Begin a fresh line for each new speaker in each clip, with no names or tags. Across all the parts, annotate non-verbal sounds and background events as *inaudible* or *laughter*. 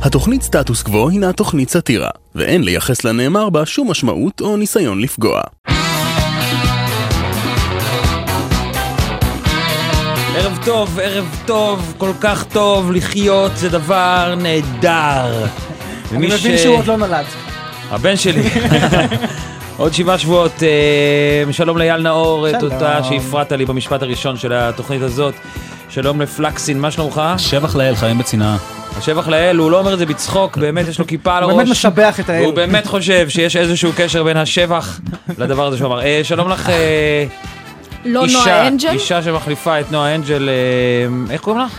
התוכנית סטטוס קוו הינה תוכנית סאטירה, ואין לייחס לנאמר בה שום משמעות או ניסיון לפגוע.
ערב טוב, ערב טוב, כל כך טוב, לחיות זה דבר נהדר.
*laughs* אני
ומי
מבין שהוא עוד לא נולד.
הבן
*laughs*
שלי. *laughs* עוד שבעה שבועות, אה, שלום לאייל נאור, את
שלום.
אותה שהפרעת לי במשפט הראשון של התוכנית הזאת. שלום לפלקסין, מה שלומך?
שבח לאל, חיים בצנעה.
השבח לאל, הוא לא אומר את זה בצחוק, באמת יש לו כיפה על
הוא
הראש.
באמת משבח את האל.
והוא באמת חושב שיש איזשהו קשר בין
*laughs*
השבח לדבר הזה שהוא אמר. אה, שלום לך, אה,
לא נועה
אישה,
אנג'ל,
אישה שמחליפה את נועה אנג'ל, אה, איך קוראים לך?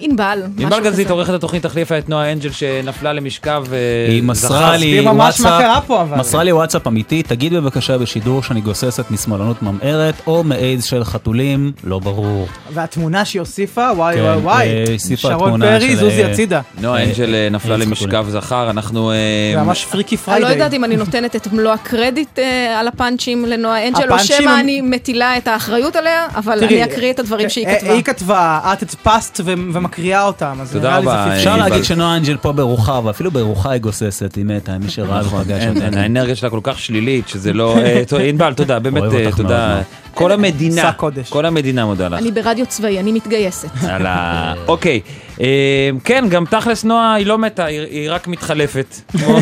ענבל.
ענבל
משהו
גזית
כזה.
עורכת התוכנית החליפה את נועה אנג'ל שנפלה למשכב. אה,
היא
זכה.
מסרה לי
תסביר ממש מה קרה
וואטסאפ,
פה, אבל.
מסרה לי וואטסאפ אמיתי, תגיד בבקשה בשידור שאני גוססת משמאלנות ממארת או מאיידס של חתולים, לא ברור.
והתמונה שהיא הוסיפה, וואי
כן,
וואי
אה,
וואי.
הוסיפה
שרון
תמונה
פרי,
של,
זוזי
אה,
הצידה.
נועה
אה,
אנג'ל אה, נפלה
אה,
למשכב
חתולים.
זכר, אנחנו... אה,
זה ממש פריקי
אני
פריידיי.
לא יודעת אם אני נותנת את מלוא הקרדיט אה, על הפאנצ'ים לנועה אנג'ל, או
הפאנצ'ים הם-
שמא אני מטילה את האחריות עליה, אבל
תראי,
אני אקריא את הדברים שהיא
אה,
כתבה.
היא כתבה, את הדפסת ו- ומקריאה אותם, אז
תודה
נראה לי זה
רבה, אה,
אפשר
אה,
להגיד
אבל-
שנועה אנג'ל פה ברוחה, ואפילו ברוחה היא גוססת, היא מתה, מי שראה ופגש
נכון, אין- אין,
אותה.
האנרגיה שלה כל כך שלילית, שזה לא... אה, טוב, ענבל, תודה, באמת,
אוהב
אה,
אותך מאוד,
תודה.
נועה.
אה,
כל המדינה,
שק קודש.
כל המדינה מודה לך.
אני ברדיו צבאי, אני מתגייסת.
על ה- אוקיי, אה, כן, גם תכלס נועה היא לא מתה, היא- היא רק מתחלפת. כמו-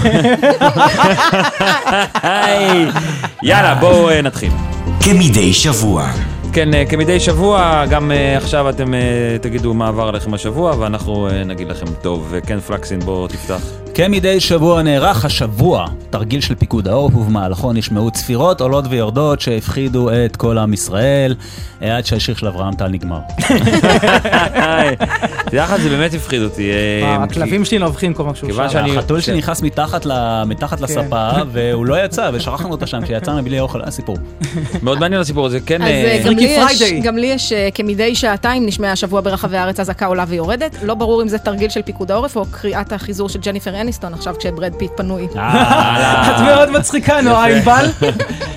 היי. יאללה, בואו אה, נתחיל.
כמדי שבוע.
כן, אה, כמדי שבוע, גם אה, עכשיו אתם אה, תגידו מה עבר עליכם השבוע, ואנחנו אה, נגיד לכם טוב. אה, כן, פלקסין, בוא תפתח.
כמדי כן, שבוע נערך השבוע תרגיל של פיקוד העורף ובמהלכו נשמעו צפירות עולות ויורדות שהפחידו את כל עם ישראל אה, עד שהשיר של אברהם טל
*laughs*
נגמר.
היי. תדע לך, זה באמת הפחיד אותי. אה,
אה,
כי-
הכלבים שלי נובחים כל פעם שהוא
כיוון
שר.
שאני-
החתול שלי נכנס מתחת ל- מתחת לספה והוא לא יצא ושכחנו אותו שם כשיצאנו בלי אוכל, היה סיפור.
מאוד מעניין הסיפור הזה. כן,
אז אה,
אה,
גם לי
פריקי
יש-
פריידיי.
גם לי יש אה, כמדי שעתיים נשמע השבוע ברחבי הארץ אזעקה עולה ויורדת. לא ברור אם זה תרגיל של פיקוד העורף או קריאת החיזור של ג'ניפר אניסטון עכשיו כשברד פיט פנוי.
את מאוד מצחיקה, נועה ענבל.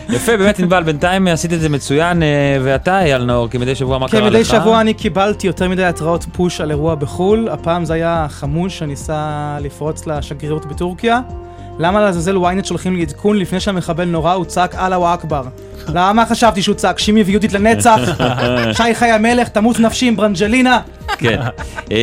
יפה, באמת, ענבל, בינתיים אה, עשית את זה מצוין, אה, ואתה, אייל נאור, כמדי שבוע, מה קרה לך?
כמדי כן, שבוע אני קיבלתי יותר מדי התראות פוש על אירוע בחו"ל. הפעם זה היה חמוש שניסה לפרוץ לשגרירות בטורקיה. למה לעזאזל ynet שולחים לי עדכון לפני שהמחבל נורא הוא צעק אללהו
*laughs*
אכבר? למה חשבתי שהוא צעק שימי ויהודית לנצח? שי חיי המלך, תמות נפשי עם ברנג'לינה?
כן. אה,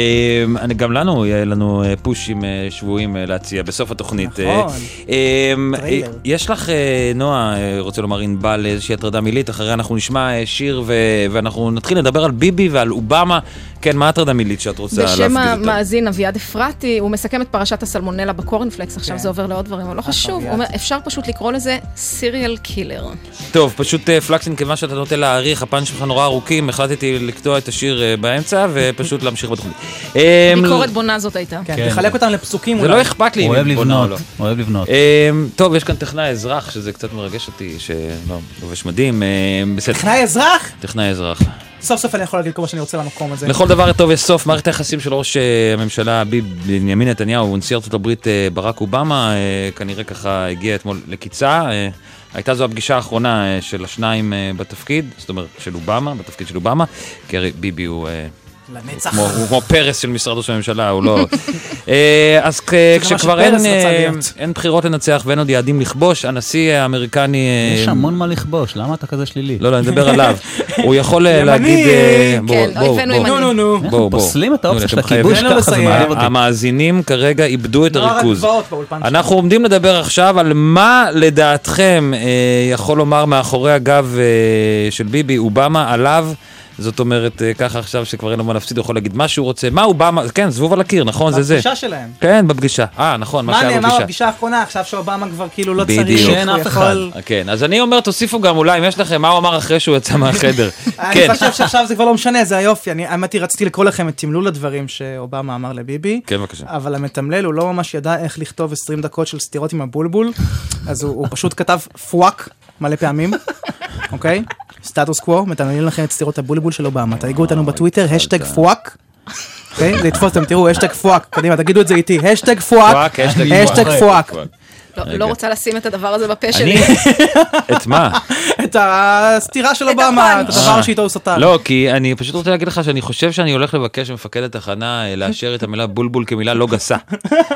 אני- גם לנו, יהיה לנו אה, פוש עם אה, שבויים אה, להציע בסוף התוכנית. אה,
נכון.
אה,
טריילר.
אה, יש לך, אה, נועה, אה, רוצה לומר ענבל, איזושהי הטרדה מילית, אחריה אנחנו נשמע אה, שיר ו- ואנחנו נתחיל לדבר על ביבי ועל אובמה. כן, מה הטרדה מילית שאת רוצה להפגיז
בשם
אותה?
המאזין אביעד אפרתי, הוא מסכם את פרשת הסלמונלה בקורנפלקס, עכשיו זה עובר לעוד דברים, אבל לא חשוב. הוא אומר, אפשר פשוט לקרוא לזה סיריאל קילר.
טוב, פשוט אה, פלקסין, כיוון שאתה נוטה להעריך, הפאנצ'ים שלך נורא ארוכים, החלטתי לקטוע את השיר אה, באמצע ופשוט להמשיך בתוכנית. אה,
ביקורת בונה זאת הייתה.
כן,
כן.
תחלק אותם לפסוקים
זה
אולי.
לא אכפת לי
הוא
אם
אוהב
היא בונה או
לבנות,
לא.
הוא אוהב לבנות.
אמ, טוב, יש כאן טכנאי אזרח, שזה קצת מרגש אותי, שלא, לובש מדים, אמ, בסדר.
טכנאי אזרח?
טכנאי אזרח.
סוף סוף אני יכול להגיד כל מה שאני רוצה למקום הזה.
לכל דבר טוב יש סוף, מערכת היחסים של ראש אה, הממשלה ביב- בנימין נתניהו ונשיא ארצות הברית אה, ברק אובמה, אה, כנראה ככה הגיע אתמול לקיצה. אה, הייתה זו הפגישה האחרונה אה, של השניים אה, בתפקיד, זאת אומרת של אובמה, בתפקיד של אובמה, כי הרי ביבי הוא אה,
לנצח.
כמו- הוא כמו פרס של משרד ראש הממשלה, הוא
*laughs*
לא... אה, אז כ- כשכבר אין,
שפרס רצה
אה,
להיות.
אין בחירות לנצח ואין עוד יעדים לכבוש, הנשיא האמריקני... אה,
יש המון מה לכבוש, למה אתה כזה שלילי?
לא, לא, אני מדבר עליו. הוא יכול אה,
ימני!
להגיד... אה, בואו,
לא,
כן,
בואו,
אויבינו
בואו.
ימנים.
נו נו נו.
בואו,
אנחנו
בואו.
פוסלים את האופציה
נו,
של
אתם חייבים.
הכיבוש
תן לו
ככה, זה
לסיים.
מעליב אותי.
המאזינים כרגע איבדו את
נוער
הריכוז.
הגבעות לא באולפן שלנו.
אנחנו עומדים לדבר עכשיו על מה לדעתכם אה, יכול לומר מאחורי הגב אה, של ביבי אובמה עליו. זאת אומרת, אה, ככה עכשיו שכבר אין לו מה להפסיד, הוא יכול להגיד מה שהוא רוצה. מה אובמה, כן, זבוב על הקיר, נכון, זה זה.
בפגישה שלהם.
כן, בפגישה. אה, נכון, מה
מה
שהיה
נאמר
בפגישה.
בפגישה האחרונה, עכשיו שאובמה כבר כאילו לא
בדיוק.
צריך,
שאין
הוא
אף
יכול-
אחד.
כן, אז אני אומר, תוסיפו גם אולי, אם יש לכם, מה הוא אמר אחרי שהוא יצא מהחדר. כן,
*laughs* אני חושב שעכשיו זה כבר לא משנה, זה היופי. אני האמת היא, רציתי לקרוא לכם את תמלול הדברים שאובמה אמר לביבי.
כן, בבקשה.
אבל המתמלל, הוא לא ממש ידע איך לכתוב 20 דקות של סתירות עם הבולבול, אז הוא הוא פשוט כתב פואק מלא פעמים, אוקיי? סטטוס קוו, מתמללים לכם את סתירות הבולבול של אובמה. תהיגו אותנו בטוויטר, השטג פואק. אוקיי? זה יתפוס אתם, תראו, השטג פואק. קדימה, תגידו את זה איתי. השטג פואק.
פואק, השטג
השטג פואק.
לא-
רגע.
לא רוצה לשים את הדבר הזה בפה שלי.
אני... את מה?
את הסתירה של אובמה, את
הפאנץ'.
הדבר שאיתו הוא סטן.
לא, כי אני פשוט רוצה להגיד לך שאני חושב שאני הולך לבקש ממפקד התחנה אה, לאשר את המילה בולבול כמילה לא גסה. כי אתה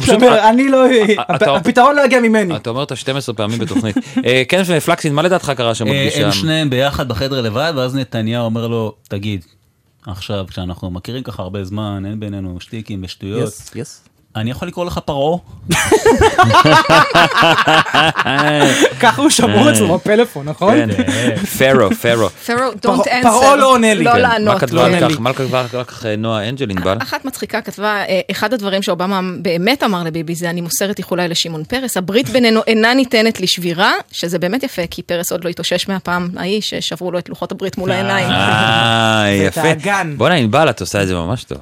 זאת
פשוט...
אומרת, אני לא... הפ-
אתה-
הפתרון לא יגיע ממני.
אתה אומר אותה 12 פעמים בתוכנית. אה, כן, פלקסין, מה לדעתך קרה שם
אה,
בפגישה?
הם שניהם ביחד בחדר לבד, ואז נתניהו אומר לו, תגיד, עכשיו כשאנחנו מכירים ככה הרבה זמן, אין בינינו שטיקים ושטויות,
Yes,
אני יכול לקרוא לך פרעה?
ככה הוא שמור אצלו בפלאפון, נכון?
אה. כן, אה, פרו, פרו.
פרו, don't
פרעה
answer.
לא עונה לי.
לא
כן, מה
לענות.
כתבה
לא
על
עונה
כך?
לי.
מה כתבה על כך אה, נועה אנג'ל
*laughs*
ענבל?
אחת מצחיקה כתבה, אה, אחד הדברים שאובמה באמת אמר לביבי זה אני מוסרת איחולי לשמעון פרס, הברית בינינו אינה ניתנת לשבירה, שזה באמת יפה, כי פרס עוד לא התאושש מהפעם ההיא ששברו לו את לוחות הברית מול העיניים.
אה,
את
יפה.
האגן.
בואנה ענבל, את עושה את זה ממש טוב.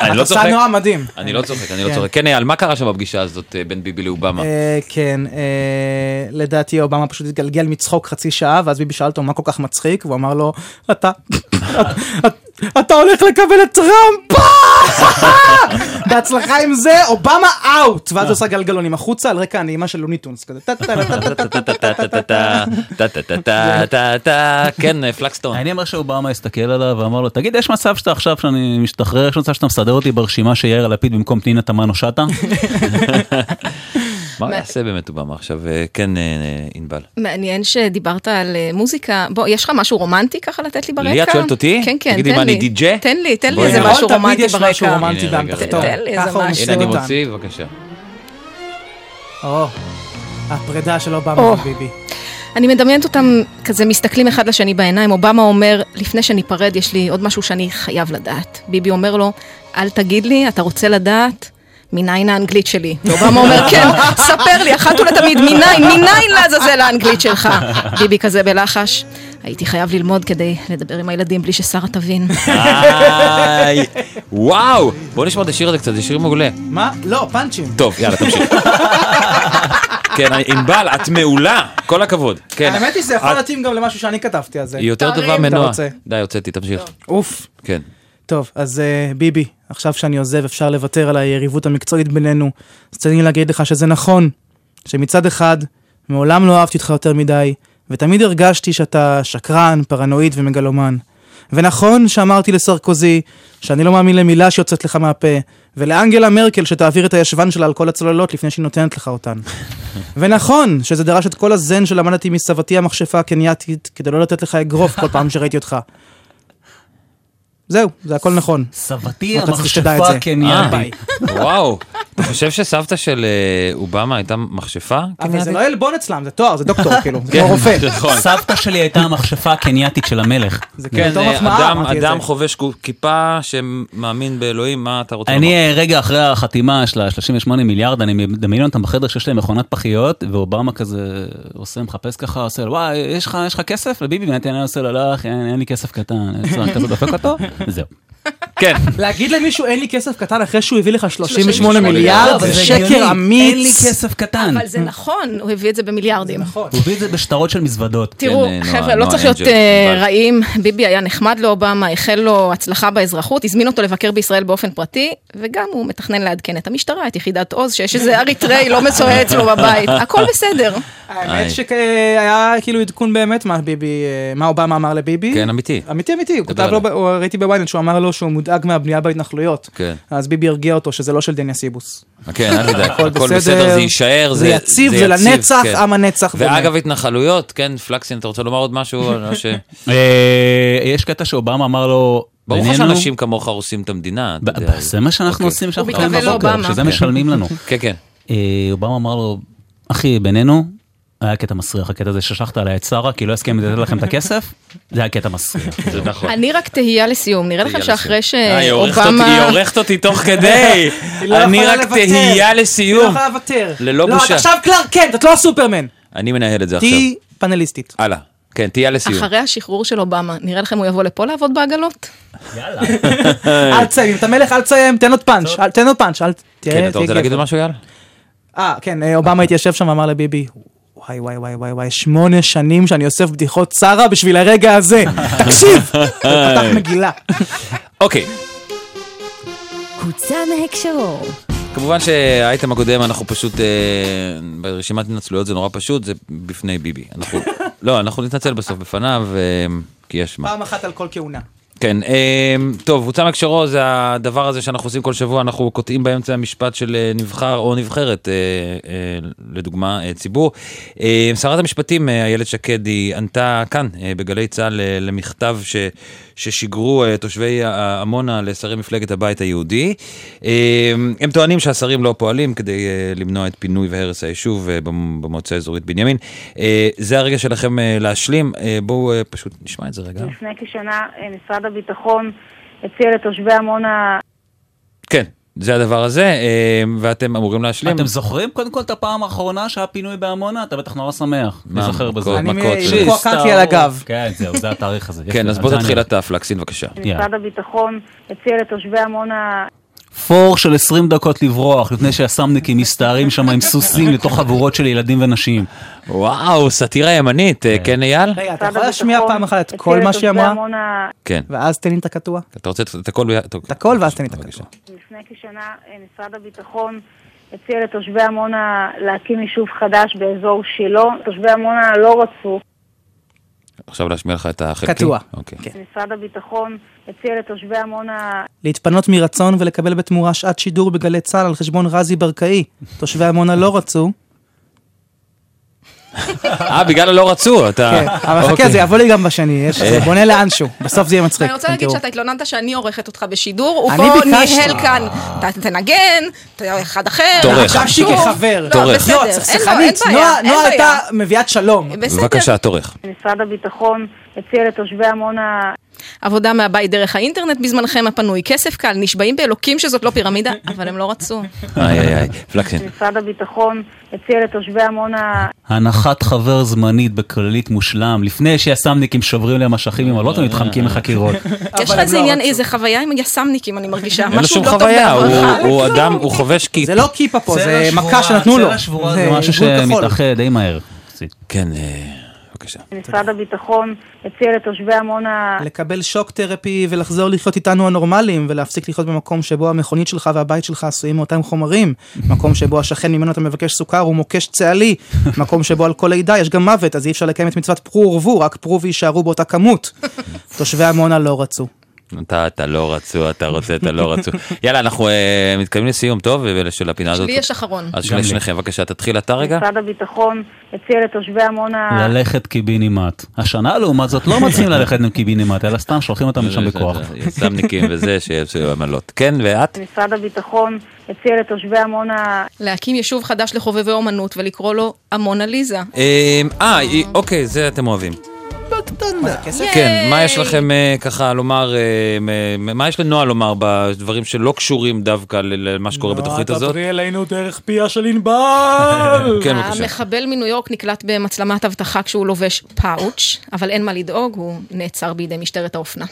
אני לא צוחק.
עשה נועה מדהים.
אני לא צוחק, אני לא
כן.
צוחק. כן, אייל, מה קרה שם בפגישה הזאת אה, בין ביבי לאובמה?
אה, כן, אה, לדעתי אובמה פשוט התגלגל מצחוק חצי שעה, ואז ביבי שאל אותו מה כל כך מצחיק, והוא אמר לו, אתה, אתה- אתה הולך לקבל את טראמפ! בהצלחה עם זה, אובמה אאוט! ואז הוא עושה גלגלונים החוצה על רקע הנעימה של לוניטונס כזה. טה, טה, טה, טה, טה, טה, טה, טה, טה, טה.
טה-טה-טה-טה-טה-טה-טה, כן, אה, פלקסטון.
אני אומר שאובמה הסתכל עליו ואמר לו, תגיד, יש מצב שאתה עכשיו, שאני משתחרר, יש מצב שאתה מסדר אותי ברשימה שיאיר לפיד במקום פנינה תמנו שטה?
מה הוא יעשה באמת אובמה עכשיו? אה, כן, אה, אה, ענבל.
מעניין שדיברת על אה, מוזיקה, בוא, יש לך משהו רומנטי ככה לתת לי ברקע?
לי את שואלת אותי?
כן, כן,
תגידי,
תן
מה,
לי.
אני די-ג'יי?
תן לי, תן לי
בואי.
איזה
נכון,
משהו
תמיד
רומנטי
יש משהו
ברקע.
רומנטי
הנה, רגע,
באמתחתו.
תן לי איזה
ככה הוא
משהו.
הנה
משאיר
אני
אותנו.
מוציא, בבקשה.
או, הפרידה של אובמה
או.
וביבי.
אני מדמיינת אותם כזה מסתכלים אחד לשני בעיניים, אובמה אומר, לפני שניפרד יש לי עוד משהו שאני חייב לדעת. ביבי אומר לו, אל תגיד לי, אתה רוצה לדעת? מניין האנגלית שלי. ואובמה אומר, כן, ספר לי, אחת ולתמיד, מניין, מניין לעזאזל האנגלית שלך. ביבי כזה בלחש, הייתי חייב ללמוד כדי לדבר עם הילדים בלי ששרה תבין.
איי, וואו, בוא נשמע את השיר הזה קצת, זה שיר מעולה.
מה? לא, פאנצ'ים.
טוב, יאללה, תמשיך. כן, ענבל, את מעולה, כל הכבוד. כן.
האמת היא שזה יכול
את-
להתאים גם למשהו שאני כתבתי על זה.
היא יותר טובה
אתה
מנועה.
רוצה.
די, הוצאתי, תמשיך.
אוף.
כן.
טוב, אז אה, ביבי, עכשיו שאני עוזב אפשר לוותר על היריבות המקצועית בינינו. אז תן לי להגיד לך שזה נכון, שמצד אחד, מעולם לא אהבתי אותך יותר מדי, ותמיד הרגשתי שאתה שקרן, פרנואיד ומגלומן. ונכון שאמרתי לסרקוזי, שאני לא מאמין למילה שיוצאת לך מהפה, ולאנגלה מרקל שתעביר את הישבן שלה על כל הצוללות לפני שהיא נותנת לך אותן. ונכון שזה דרש את כל הזן שלמדתי מסבתי המכשפה הקנייתית, כדי לא לתת לך אגרוף כל פעם שראיתי אותך. זהו, זה הכל נכון.
סבתי
רק רציתי שתדע את
המכשפה
זה.
אה,
הקנייתית.
וואו, אתה חושב שסבתא של אה, אובמה הייתה מכשפה?
אבל זה לא עלבון אצלם, זה תואר, זה דוקטור, כאילו, זה כמו
כן,
רופא.
נכון.
סבתא שלי הייתה המכשפה הקנייתית של המלך.
זה כאילו
כן,
בתור
אה,
מחמאה,
אדם-
אמרתי את
אדם
זה.
חובש קו- כיפה שמאמין באלוהים, מה אתה רוצה
אני
לומר?
אה, רגע אחרי החתימה של ה-38 מיליארד, אני מדמיין אותם בחדר שיש להם מכונת פחיות, ואובמה כזה עושה, מחפש ככה, עושה, לו, וואי, יש לך יש לך כסף לביבי? ונתניהו עושה לו, לא, אחי, אין אין לי כסף קטן, אין צורך, כזה דופק אותו, זהו.
כן,
להגיד למישהו אין לי כסף קטן אחרי שהוא הביא לך 38
38
מיליארד,
מיליארד,
זה
אבל זה
שקר אמיץ.
אין לי כסף קטן.
אבל זה נכון, הוא הביא את זה במיליארדים.
נכון.
הוא הביא את זה בשטרות של מזוודות. כן, אה,
תראו,
נועה,
חבר'ה, לא
כן, נועה
צריך להיות
אנג'ל,
אה,
ענבל.
רעים. ביבי היה נחמד לאובמה, החל לו הצלחה באזרחות, הזמין אותו לבקר בישראל באופן פרטי, וגם הוא מתכנן לעדכן את המשטרה, את יחידת עוז, שיש איזה אריתראי לא מזוהה אצלו בבית. הכל בסדר.
היי.
האמת שהיה כאילו עדכון באמת מה ביבי, אה, מה אובמה אמר לביבי.
כן, אמיתי.
אמיתי אמיתי, הוא
דבר
כתב לו,
עליו.
ב- הוא- ראיתי בוויינט שהוא אמר לו שהוא מודאג מהבנייה בהתנחלויות.
כן.
אז ביבי הרגיע אותו שזה לא של דניה סיבוס.
כן, אל תדאג, הכל בסדר, זה יישאר,
זה יציב, זה לנצח,
כן.
עם הנצח.
ואגב, התנחלויות, כן, פלקסין, אתה רוצה לומר עוד משהו?
*laughs*
על מה ש-
אה, יש קטע שאובמה אמר לו,
ברור לך
בינינו-
שאנשים כמוך הורסים את המדינה, אתה
ב-
יודע.
ב- זה מה שאנחנו
אוקיי.
עושים שאנחנו
הוא
קמים
מתכוון
בבוקר,
לאובמה.
שזה
כן.
משלמים לנו.
כן, כן.
אה, אובמה אמר לו, אחי, בינינו, היה קטע מסריח, הקטע הזה ששלחת עליי את שרה, כי לא הסכם לתת לכם את הכסף, *laughs* זה היה קטע מסריח.
*laughs* זה נכון.
אני רק תהייה לסיום, נראה לכם שאחרי
אה, היא עורכת אותי- היא
שאובמה...
עורכת אותי
*laughs*
תוך כדי.
היא לא
אני
יכולה
רק
לוותר.
תהייה
היא לא
לסיום.
יכולה לוותר.
ללא
לא, את
בושה.
עכשיו קלארק קנט, את לא סופרמן.
אני מנהל את זה עכשיו.
תהיי פאנליסטית.
הלאה. כן, תהייה לסיום.
אחרי השחרור של אובמה, נראה לכם הוא יבוא לפה לעבוד בעגלות?
אל תסיים, אם אתה מלך אל תסיים, תן עוד פאנץ', אל- תן עוד פאנץ', אל תהיה...
כן, אתה
תהיה
רוצה להגיד
גבר.
עוד משהו, יאללה?
אה, כן, אה,
אוקיי.
אובמה התיישב שם ואמר לביבי, וואי וואי וואי וואי וואי, שמונה שנים שאני אוסף בדיחות שרה בשביל הרגע
*laughs*
הזה. תקשיב! פתח מגילה.
אוקיי.
הוצא מהקשרו.
כמובן שהאייטם הקודם, אנחנו פשוט, אה, ברשימת התנצלויות זה נורא פשוט, זה בפני ביבי. אנחנו, לא, אנחנו נתנצל בסוף בפניו, אה, כי יש מה.
פעם אחת על כל כהונה.
כן, אה, טוב, הוצא מהקשרו זה הדבר הזה שאנחנו עושים כל שבוע, אנחנו קוטעים באמצע המשפט של אה, נבחר או נבחרת, אה, אה, לדוגמה אה, ציבור. אה, שרת המשפטים אה, איילת שקד היא ענתה כאן אה, בגלי צה"ל אה, למכתב ש, ששיגרו אה, תושבי ה- עמונה לשרי מפלגת הבית היהודי. אה, הם טוענים שהשרים לא פועלים כדי אה, למנוע את פינוי והרס היישוב אה, במ- במועצה האזורית בנימין. אה, זה הרגע שלכם אה, להשלים, אה, בואו אה, פשוט נשמע את זה רגע.
לפני כשנה אה, משרד הביטחון הציע לתושבי עמונה
כן, זה הדבר הזה, אה, ואתם אמורים להשלים.
אתם זוכרים קודם כל את הפעם האחרונה שהיה פינוי בעמונה? אתה בטח נורא שמח.
מה,
אני זוכר
מכות,
בזה.
מכות,
אני
מכות.
מ-
שיט.
מכות. קעקעתי על הגב.
כן, זהו, זה התאריך הזה.
כן,
יפה,
אז בוא
זה
תתחיל
אני-
אתה, פלקסין, בבקשה.
משרד הביטחון הציע לתושבי עמונה
פור של 20 דקות לברוח לפני שהסמניקים מסתערים שם עם סוסים לתוך חבורות של ילדים ונשים.
וואו, סאטירה ימנית, אה, כן אייל?
רגע, אתה
משרד
יכול להשמיע
הביטחון
פעם אחת את
הציע
כל מה שהיא
לתושבי
אמרה,
עמונה
כן.
ואז תן לי את הקטוע.
אתה רוצה את- את הכל? ב- טוב.
את הכל, ואז תן לי את
בבקשה.
הקטוע.
לפני כשנה אה, משרד הביטחון הציע לתושבי עמונה להקים יישוב חדש באזור שילה. תושבי עמונה לא רצו.
עכשיו להשמיע לך את החלקים?
קטוע.
אוקיי.
כן.
משרד הביטחון הציע לתושבי עמונה
להתפנות מרצון ולקבל בתמורה שעת שידור בגלי צה"ל על חשבון רזי ברקאי. תושבי עמונה לא רצו.
אה, בגלל הלא רצו, אתה...
כן, אבל חכה,
אוקיי. אה.
זה יבוא לי גם בשני, יש- זה בונה לאנשהו, בסוף זה יהיה מצחיק.
אני רוצה
אתם
להגיד
תראו.
שאתה התלוננת שאני עורכת אותך בשידור, הוא
אני
פה
ביקשתי.
ניהל כאן, ת- תנגן, ת- אחד אחר.
תורך.
אחד
חשבתי
שוב.
כחבר.
לא,
תורך.
בסדר,
לא,
אין לו- אין
צחצחנית,
בעיה,
נועה
אין
נועה
בעיה.
הייתה מביאת שלום.
בסדר.
בבקשה, תורך.
משרד הביטחון הציע לתושבי עמונה
עבודה מהבית דרך האינטרנט בזמנכם הפנוי, כסף קל, נשבעים באלוקים שזאת לא פירמידה, אבל הם
*laughs*
לא רצו.
איי איי איי, פלקסין.
משרד הביטחון הציע לתושבי עמונה
הנחת חבר זמנית בכללית מושלם, לפני שהסמניקים שוברים להם אשכים עם הלוטו לא מתחמקים מחקירות.
יש לך
אבל הם
איזה
לא
עניין,
רצו.
איזה חוויה עם יס"מניקים, אני מרגישה.
אין לו
משהו
שום
לא טוב
חוויה,
בעברך.
הוא- הוא אדם, הוא חובש כיפ.
זה לא כיפה פה, זה
צלע שבורה,
מכה שנתנו לו.
לא
צלע שבורה זה משהו
עיגול כחול.
שמתאחד די מהר. יחסית.
כן, אה, בבקשה.
משרד הביטחון הציע לתושבי עמונה
לקבל שוק תרפי ולחזור לחיות איתנו הנורמליים ולהפסיק לחיות במקום שבו המכונית שלך והבית שלך עשויים מאותם חומרים. מקום שבו השכן ממנו אתה מבקש סוכר הוא מוקש צהלי. מקום שבו על כל לידה יש גם מוות אז אי אפשר לקיים את מצוות פרו ורבו רק פרו ויישארו באותה
*laughs*
כמות. תושבי עמונה לא רצו.
אתה אתה לא רצו, אתה רוצה, אתה לא רצו. יאללה, אנחנו אה, מתקדמים לסיום, טוב? של הפינה הזאת.
שלי יש אוקיי. אחרון.
אז אוקיי. שני- שניכם, בבקשה, תתחיל אתה רגע.
משרד הביטחון הציע לתושבי עמונה
ללכת קיבינימט. השנה לעומת זאת *laughs* לא מציעים ללכת עם קיבינימט, אלא סתם שולחים אותם לשם בכוח.
יס"מניקים וזה שיעשו עמלות. כן, ואת?
משרד הביטחון הציע לתושבי עמונה
להקים יישוב חדש לחובבי אומנות ולקרוא לו המונליזה.
אמ, אה, אי- אוקיי, זה אתם אוהבים. כן, מה יש לכם אה, ככה לומר, אה, מ- מה יש לנועה לומר בדברים שלא קשורים דווקא ל- למה שקורה בתוכנית הזאת?
אלינו דרך פיה של ענבל!
*laughs* כן, בבקשה.
המחבל מניו יורק נקלט במצלמת אבטחה כשהוא לובש פאוץ', אבל אין מה לדאוג, הוא נעצר בידי משטרת האופנה.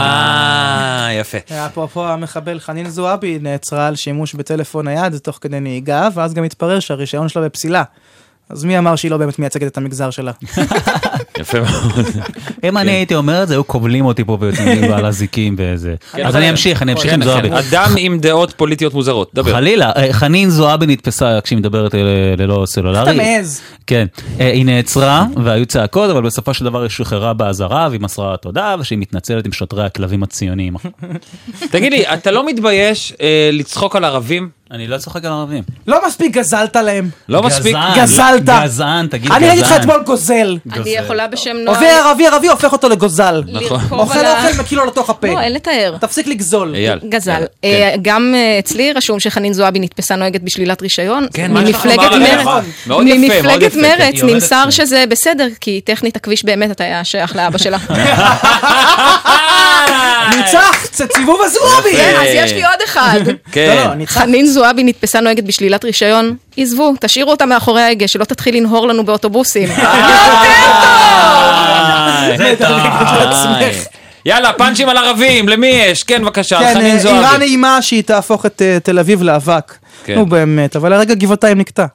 אה,
*laughs*
יפה.
אפרופו המחבל חנין זועבי נעצרה על שימוש בטלפון נייד תוך כדי נהיגה ואז גם התברר שהרישיון שלה בפסילה. אז מי אמר שהיא לא באמת מייצגת את המגזר שלה?
יפה
*laughs*
מאוד.
אם אני הייתי אומר את זה, היו כובלים אותי פה ויוצאים *laughs* לי על אזיקים וזה. אז אני אמשיך, אני
כן,
אמשיך עם זועבי.
כן, אדם עם דעות פוליטיות מוזרות, דבר.
חלילה, אה, חנין זועבי נתפסה כשהיא מדברת ל- ללא סלולרי.
אתה מעז.
כן. אה, היא נעצרה והיו צעקות, אבל בסופו של דבר היא שוחררה באזהרה והיא מסרה תודה ושהיא מתנצלת עם שוטרי הכלבים הציוניים.
תגיד לי, אתה לא מתבייש אה, לצחוק על ערבים?
*laughs* אני לא צוחק על ערבים.
לא מספיק גזלת להם.
לא מספיק?
גזען.
גזלת.
אה, גזען, תגיד
אני ראיתי
גזען.
לך אתמול גוזל.
לא, אני יכולה בשם נוער
עובר ערבי ערבי הופך אותו לגוזל.
נכון.
לרכוב
אוכל
על ה...
אוכל מקיא לו לתוך הפה.
לא, אין לתאר.
תפסיק לגזול.
אייל.
גזל.
יאללה,
אה,
כן.
גם אה, אצלי רשום שחנין זועבי נתפסה נוהגת בשלילת רישיון.
כן, מה יש לך
ממפלגת
לומר עליה?
מרצ.
מאוד יפה, מאוד
ממפלגת
יפה, כן,
מרצ
היא עומדת
נמסר
שם.
שזה בסדר, כי טכנית הכביש באמת אתה היה שייך לאבא
*laughs*
שלה.
אה.
ניצחת, זה סיבוב הזועבי!
כן, אז יש לי
אה.
עוד אחד.
לא,
כן.
לא, ניצחת.
חנין זועבי נתפסה נוהגת בשלילת רישיון. עזבו, תשאירו אותה מאחורי ההגה, שלא תתחיל לנהור לנו באוטובוסים.
לא,
איי,
זה אה.
את עצמך.
יאללה, פאנצ'ים על ערבים, למי יש? כן, בבקשה,
כן,
חנין
אה, איראן
זועבי.
איימה שהיא תהפוך את אה, תל אביב לאבק.
כן.
נו באמת, אבל הרגע גבעתיים נקטע.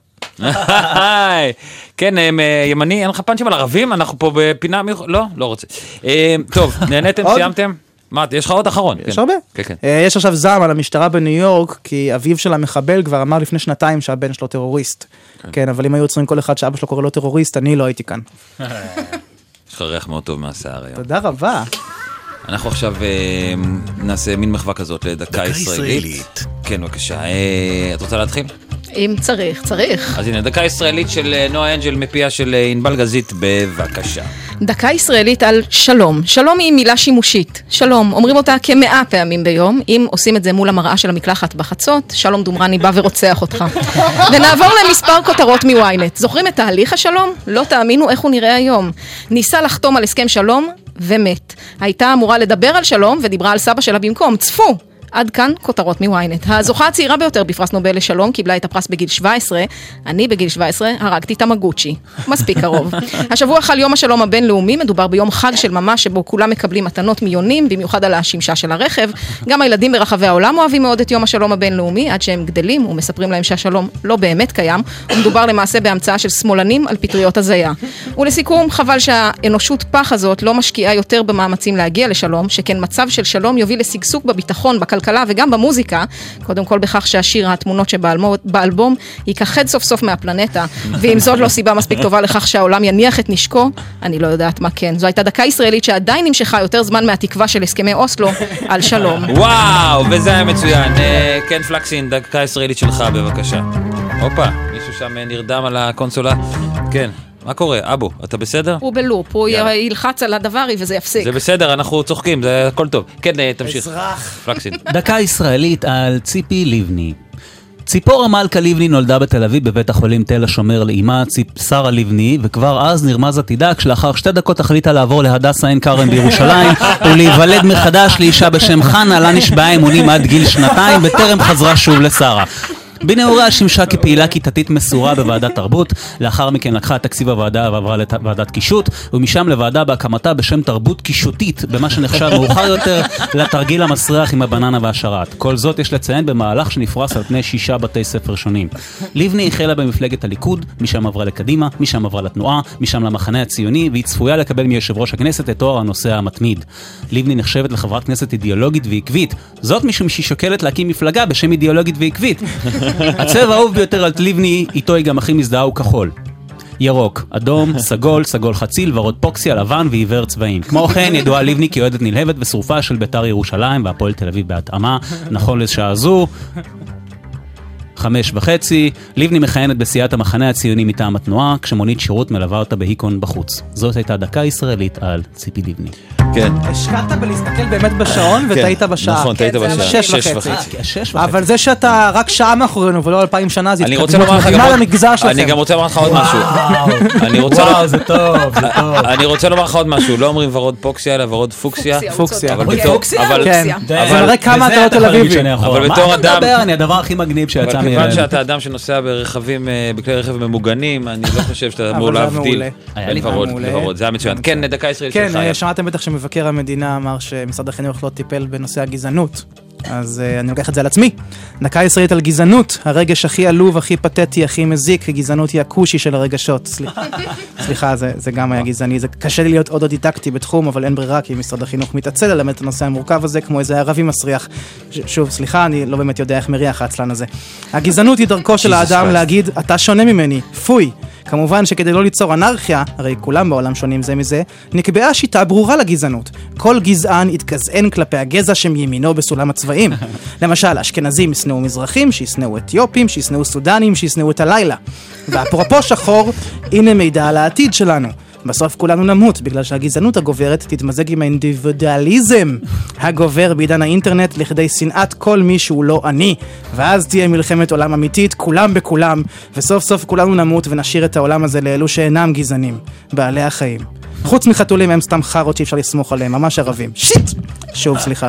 היי. כן, הם, אה, ימני, אין לך פאנצ'ים על ערבים? אנחנו פה בפינה, מי- לא, לא רוצה. אה, טוב, נהניתם,
עוד?
סיימתם? מה, יש לך עוד אחרון?
יש
כן.
הרבה.
כן, כן.
אה, יש עכשיו זעם על המשטרה בניו יורק, כי אביו של המחבל כבר אמר לפני שנתיים שהבן שלו טרוריסט. כן, אבל אם היו עוצרים כל אחד שאבא שלו קורא לו טרוריסט, אני לא הייתי כאן.
יש לך ריח מאוד טוב מהשיער היום.
תודה רבה.
אנחנו עכשיו אה, נעשה מין מחווה כזאת לדקה ישראלית.
ישראלית.
כן, בבקשה. אה, את רוצה להתחיל?
אם צריך, צריך.
אז הנה, דקה ישראלית של אה, נועה אנג'ל מפיה של אה, ענבל גזית, בבקשה.
דקה ישראלית על שלום. שלום היא מילה שימושית. שלום, אומרים אותה כמאה פעמים ביום, אם עושים את זה מול המראה של המקלחת בחצות, שלום דומרני בא ורוצח אותך. ונעבור למספר כותרות מ-ynet. זוכרים את תהליך השלום? לא תאמינו איך הוא נראה היום. ניסה לחתום על הסכם שלום, ומת. הייתה אמורה לדבר על שלום, ודיברה על סבא שלה במקום. צפו! עד כאן כותרות מ-ynet. הזוכה הצעירה ביותר בפרס נובל לשלום קיבלה את הפרס בגיל 17, אני בגיל 17 הרגתי תמגוצ'י. מספיק קרוב. השבוע חל יום השלום הבינלאומי, מדובר ביום חג של ממש שבו כולם מקבלים מתנות מיונים, במיוחד על השמשה של הרכב. גם הילדים ברחבי העולם אוהבים מאוד את יום השלום הבינלאומי, עד שהם גדלים ומספרים להם שהשלום לא באמת קיים, ומדובר למעשה בהמצאה של שמאלנים על פטריות הזיה. ולסיכום, חבל שהאנושות פח הזאת לא משקיעה יותר במאמצים להגיע לשלום, שכן מצב של שלום יוביל לשגשוג בביטחון, בכלכלה וגם במוזיקה, קודם כל בכך שהשיר התמונות שבאלבום ייכחד סוף סוף מהפלנטה, ואם זאת לא סיבה מספיק טובה לכך שהעולם יניח את נשקו, אני לא יודעת מה כן. זו הייתה דקה ישראלית שעדיין נמשכה יותר זמן מהתקווה של הסכמי אוסלו על
*laughs*
שלום.
וואו, וזה היה מצוין. אה, כן, פלקסין, דקה ישראלית שלך, בבקשה. הופה, מישהו שם אה, נרדם על הקונסולה. כן, מה קורה? אבו, אתה בסדר?
הוא בלופ, הוא
יאללה.
ילחץ על הדברי וזה יפסיק.
זה בסדר, אנחנו צוחקים, זה הכל טוב. כן, אה, תמשיך.
אזרח. *laughs*
פלקסין.
דקה ישראלית על ציפי לבני. ציפורה מלכה לבני נולדה בתל אביב בבית החולים תל השומר לאימה ציפ- שרה לבני, וכבר אז נרמז עתידה כשלאחר שתי דקות החליטה לעבור להדסה עין כרם בירושלים ולהיוולד מחדש לאישה בשם חנה, לה נשבעה אמונים עד גיל שנתיים וטרם חזרה שוב לשרה. בנעוריה שימשה כפעילה כיתתית מסורה בוועדת תרבות, לאחר מכן לקחה את תקציב הוועדה ועברה לוועדת קישוט, ומשם לוועדה בהקמתה בשם תרבות קישוטית, במה שנחשב מאוחר יותר לתרגיל המסריח עם הבננה והשרת. כל זאת יש לציין במהלך שנפרס על פני שישה בתי ספר שונים. לבני החלה במפלגת הליכוד, משם עברה לקדימה, משם עברה לתנועה, משם למחנה הציוני, והיא צפויה לקבל מיושב ראש הכנסת את תואר הנוסע המתמיד. לבני נחשבת לחברת כנסת אידיאולוגית ועקבית, זאת משום שהיא שוקלת להקים מפלגה בשם אידיאולוגית ועקבית. הצבע האהוב ביותר על לבני, איתו היא גם הכי מזדהה, הוא כחול. ירוק, אדום, סגול, סגול חציל, ורוד פוקסיה, לבן ועיוור צבעים. כמו כן, ידועה לבני כאוהדת נלהבת ושרופה של בית"ר ירושלים והפועל תל אביב בהתאמה, נכון לשעה זו. חמש וחצי, לבני מכהנת בסיעת המחנה הציוני מטעם התנועה, כשמונית שירות מלווה אותה בהיקון בחוץ. זאת הייתה דקה ישראלית על ציפי לבני.
כן.
השקעת בלהסתכל באמת בשעון
כן,
וטעית בשעה.
נכון, טעית
כן, זה
בשעה.
שש וחצי.
אה, שש
אבל זה שאתה רק שעה מאחורינו ולא אלפיים שנה, זה
אני רוצה לומר לך גם
מדהימה
עוד-
למגזר שלכם.
אני גם רוצה לומר לך עוד
*laughs*
משהו. אני רוצה-
טוב, זה טוב.
אני רוצה לומר לך עוד משהו, לא אומרים ורוד פוקסיה, אלא ורוד פוקסיה.
פוקסיה.
אבל
אוי,
בתור-
פוקסיה?
אבל-
כן.
פוקסיה.
די,
אבל-
מראה
וזה אתה יכול להגיד שאני
אחורה.
אבל
מה
בתור
אתה
אדם...
מדבר?
אני הדבר הכי מגניב
אבל
שיצא
כיוון
מילד.
שאתה אדם שנוסע ברכבים, אה, בכלי רכב ממוגנים, אני לא חושב
*laughs*
שאתה אמור
זה היה
להבדיל.
מעולה.
היה
בין
לי
ורוד
מעולה.
לוורוד, זה היה מצוין. כן, דקה ישראלית שלך.
כן,
יאללה.
שמעתם בטח שמבקר המדינה אמר שמשרד החינוך לא טיפל בנושא הגזענות. אז אה, אני לוקח את זה על עצמי. דקה ישראלית על גזענות, הרגש הכי עלוב, הכי פתטי, הכי מזיק, הגזענות היא הכושי של הרגשות. סליחה, סליחה זה, זה גם היה גזעני, זה קשה לי להיות אוטודידקטי בתחום, אבל אין ברירה, כי משרד החינוך מתעצל ללמד את הנושא המורכב הזה, כמו איזה ערבי מסריח. ש- שוב, סליחה, אני לא באמת יודע איך מריח העצלן הזה. הגזענות היא דרכו של האדם
Christ.
להגיד, אתה שונה ממני, פוי. כמובן שכדי לא ליצור אנרכיה, הרי כולם בעולם שונים זה מזה, נקבעה שיטה ברורה לגזענות. כל גזען יתגזען כלפי הגזע שמימינו בסולם הצבעים. למשל, אשכנזים ישנאו מזרחים, שישנאו אתיופים, שישנאו סודנים, שישנאו את הלילה. ואפרופו שחור, הנה מידע על העתיד שלנו. בסוף כולנו נמות, בגלל שהגזענות הגוברת תתמזג עם האינדיבידואליזם הגובר בעידן האינטרנט לכדי שנאת כל מי שהוא לא אני. ואז תהיה מלחמת עולם אמיתית, כולם בכולם, וסוף סוף כולנו נמות ונשאיר את העולם הזה לאלו שאינם גזענים, בעלי החיים. חוץ מחתולים הם סתם חארות שאי אפשר לסמוך עליהם, ממש ערבים. שיט! שוב, סליחה.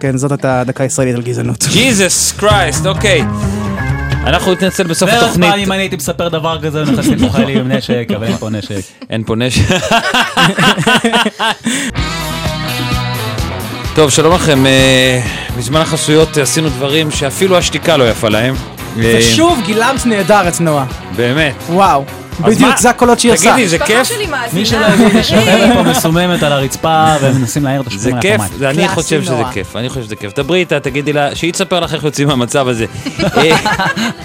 כן, זאת הייתה הדקה הישראלית על גזענות.
ג'יזוס קרייסט, אוקיי. אנחנו נתנצל בסוף
בערך
התוכנית.
פעם אם אני הייתי מספר דבר כזה, היו נכנסים פה חיילים עם נשק, אבל אין פה נשק.
אין פה נשק. טוב, שלום לכם. אה, בזמן החסויות עשינו דברים שאפילו השתיקה לא יפה להם. אה,
ושוב גילמת נהדר את נועה.
באמת.
וואו.
אז
בדיוק,
מה-
זה הקולות שהיא עושה.
תגידי, זה כיף?
שלי
מי שלא
מאזינה.
הבין, שוכבת פה מסוממת על הרצפה ומנסים להעיר את
זה
השכונה
כיף,
מהפמיים.
זה- אני
קלאסי
חושב שזה
נורא.
כיף, אני חושב שזה כיף. דברי איתה, תגידי לה, שהיא תספר לך איך יוצאים מהמצב הזה. אה,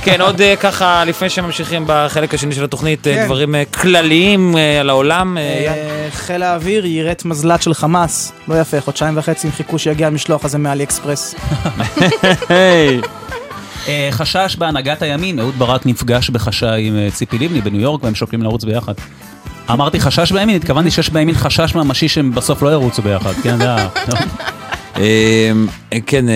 כן, עוד אה, ככה, לפני שממשיכים בחלק השני של התוכנית, אה,
כן.
דברים אה, כלליים אה, על העולם. אה, אייל?
אה, חיל האוויר יירט מזל"ט של חמאס. לא יפה, חודשיים וחצי הם חיכו שיגיע המשלוח הזה מאלי אקספרס.
היי.
אה, חשש בהנהגת הימין, אהוד ברק נפגש בחשאי עם אה, ציפי לבני בניו יורק והם שוקלים לרוץ ביחד. אמרתי חשש בימין, התכוונתי שיש בימין חשש ממשי שהם בסוף לא ירוצו ביחד, כן, זה ה...
אה, כן, אה,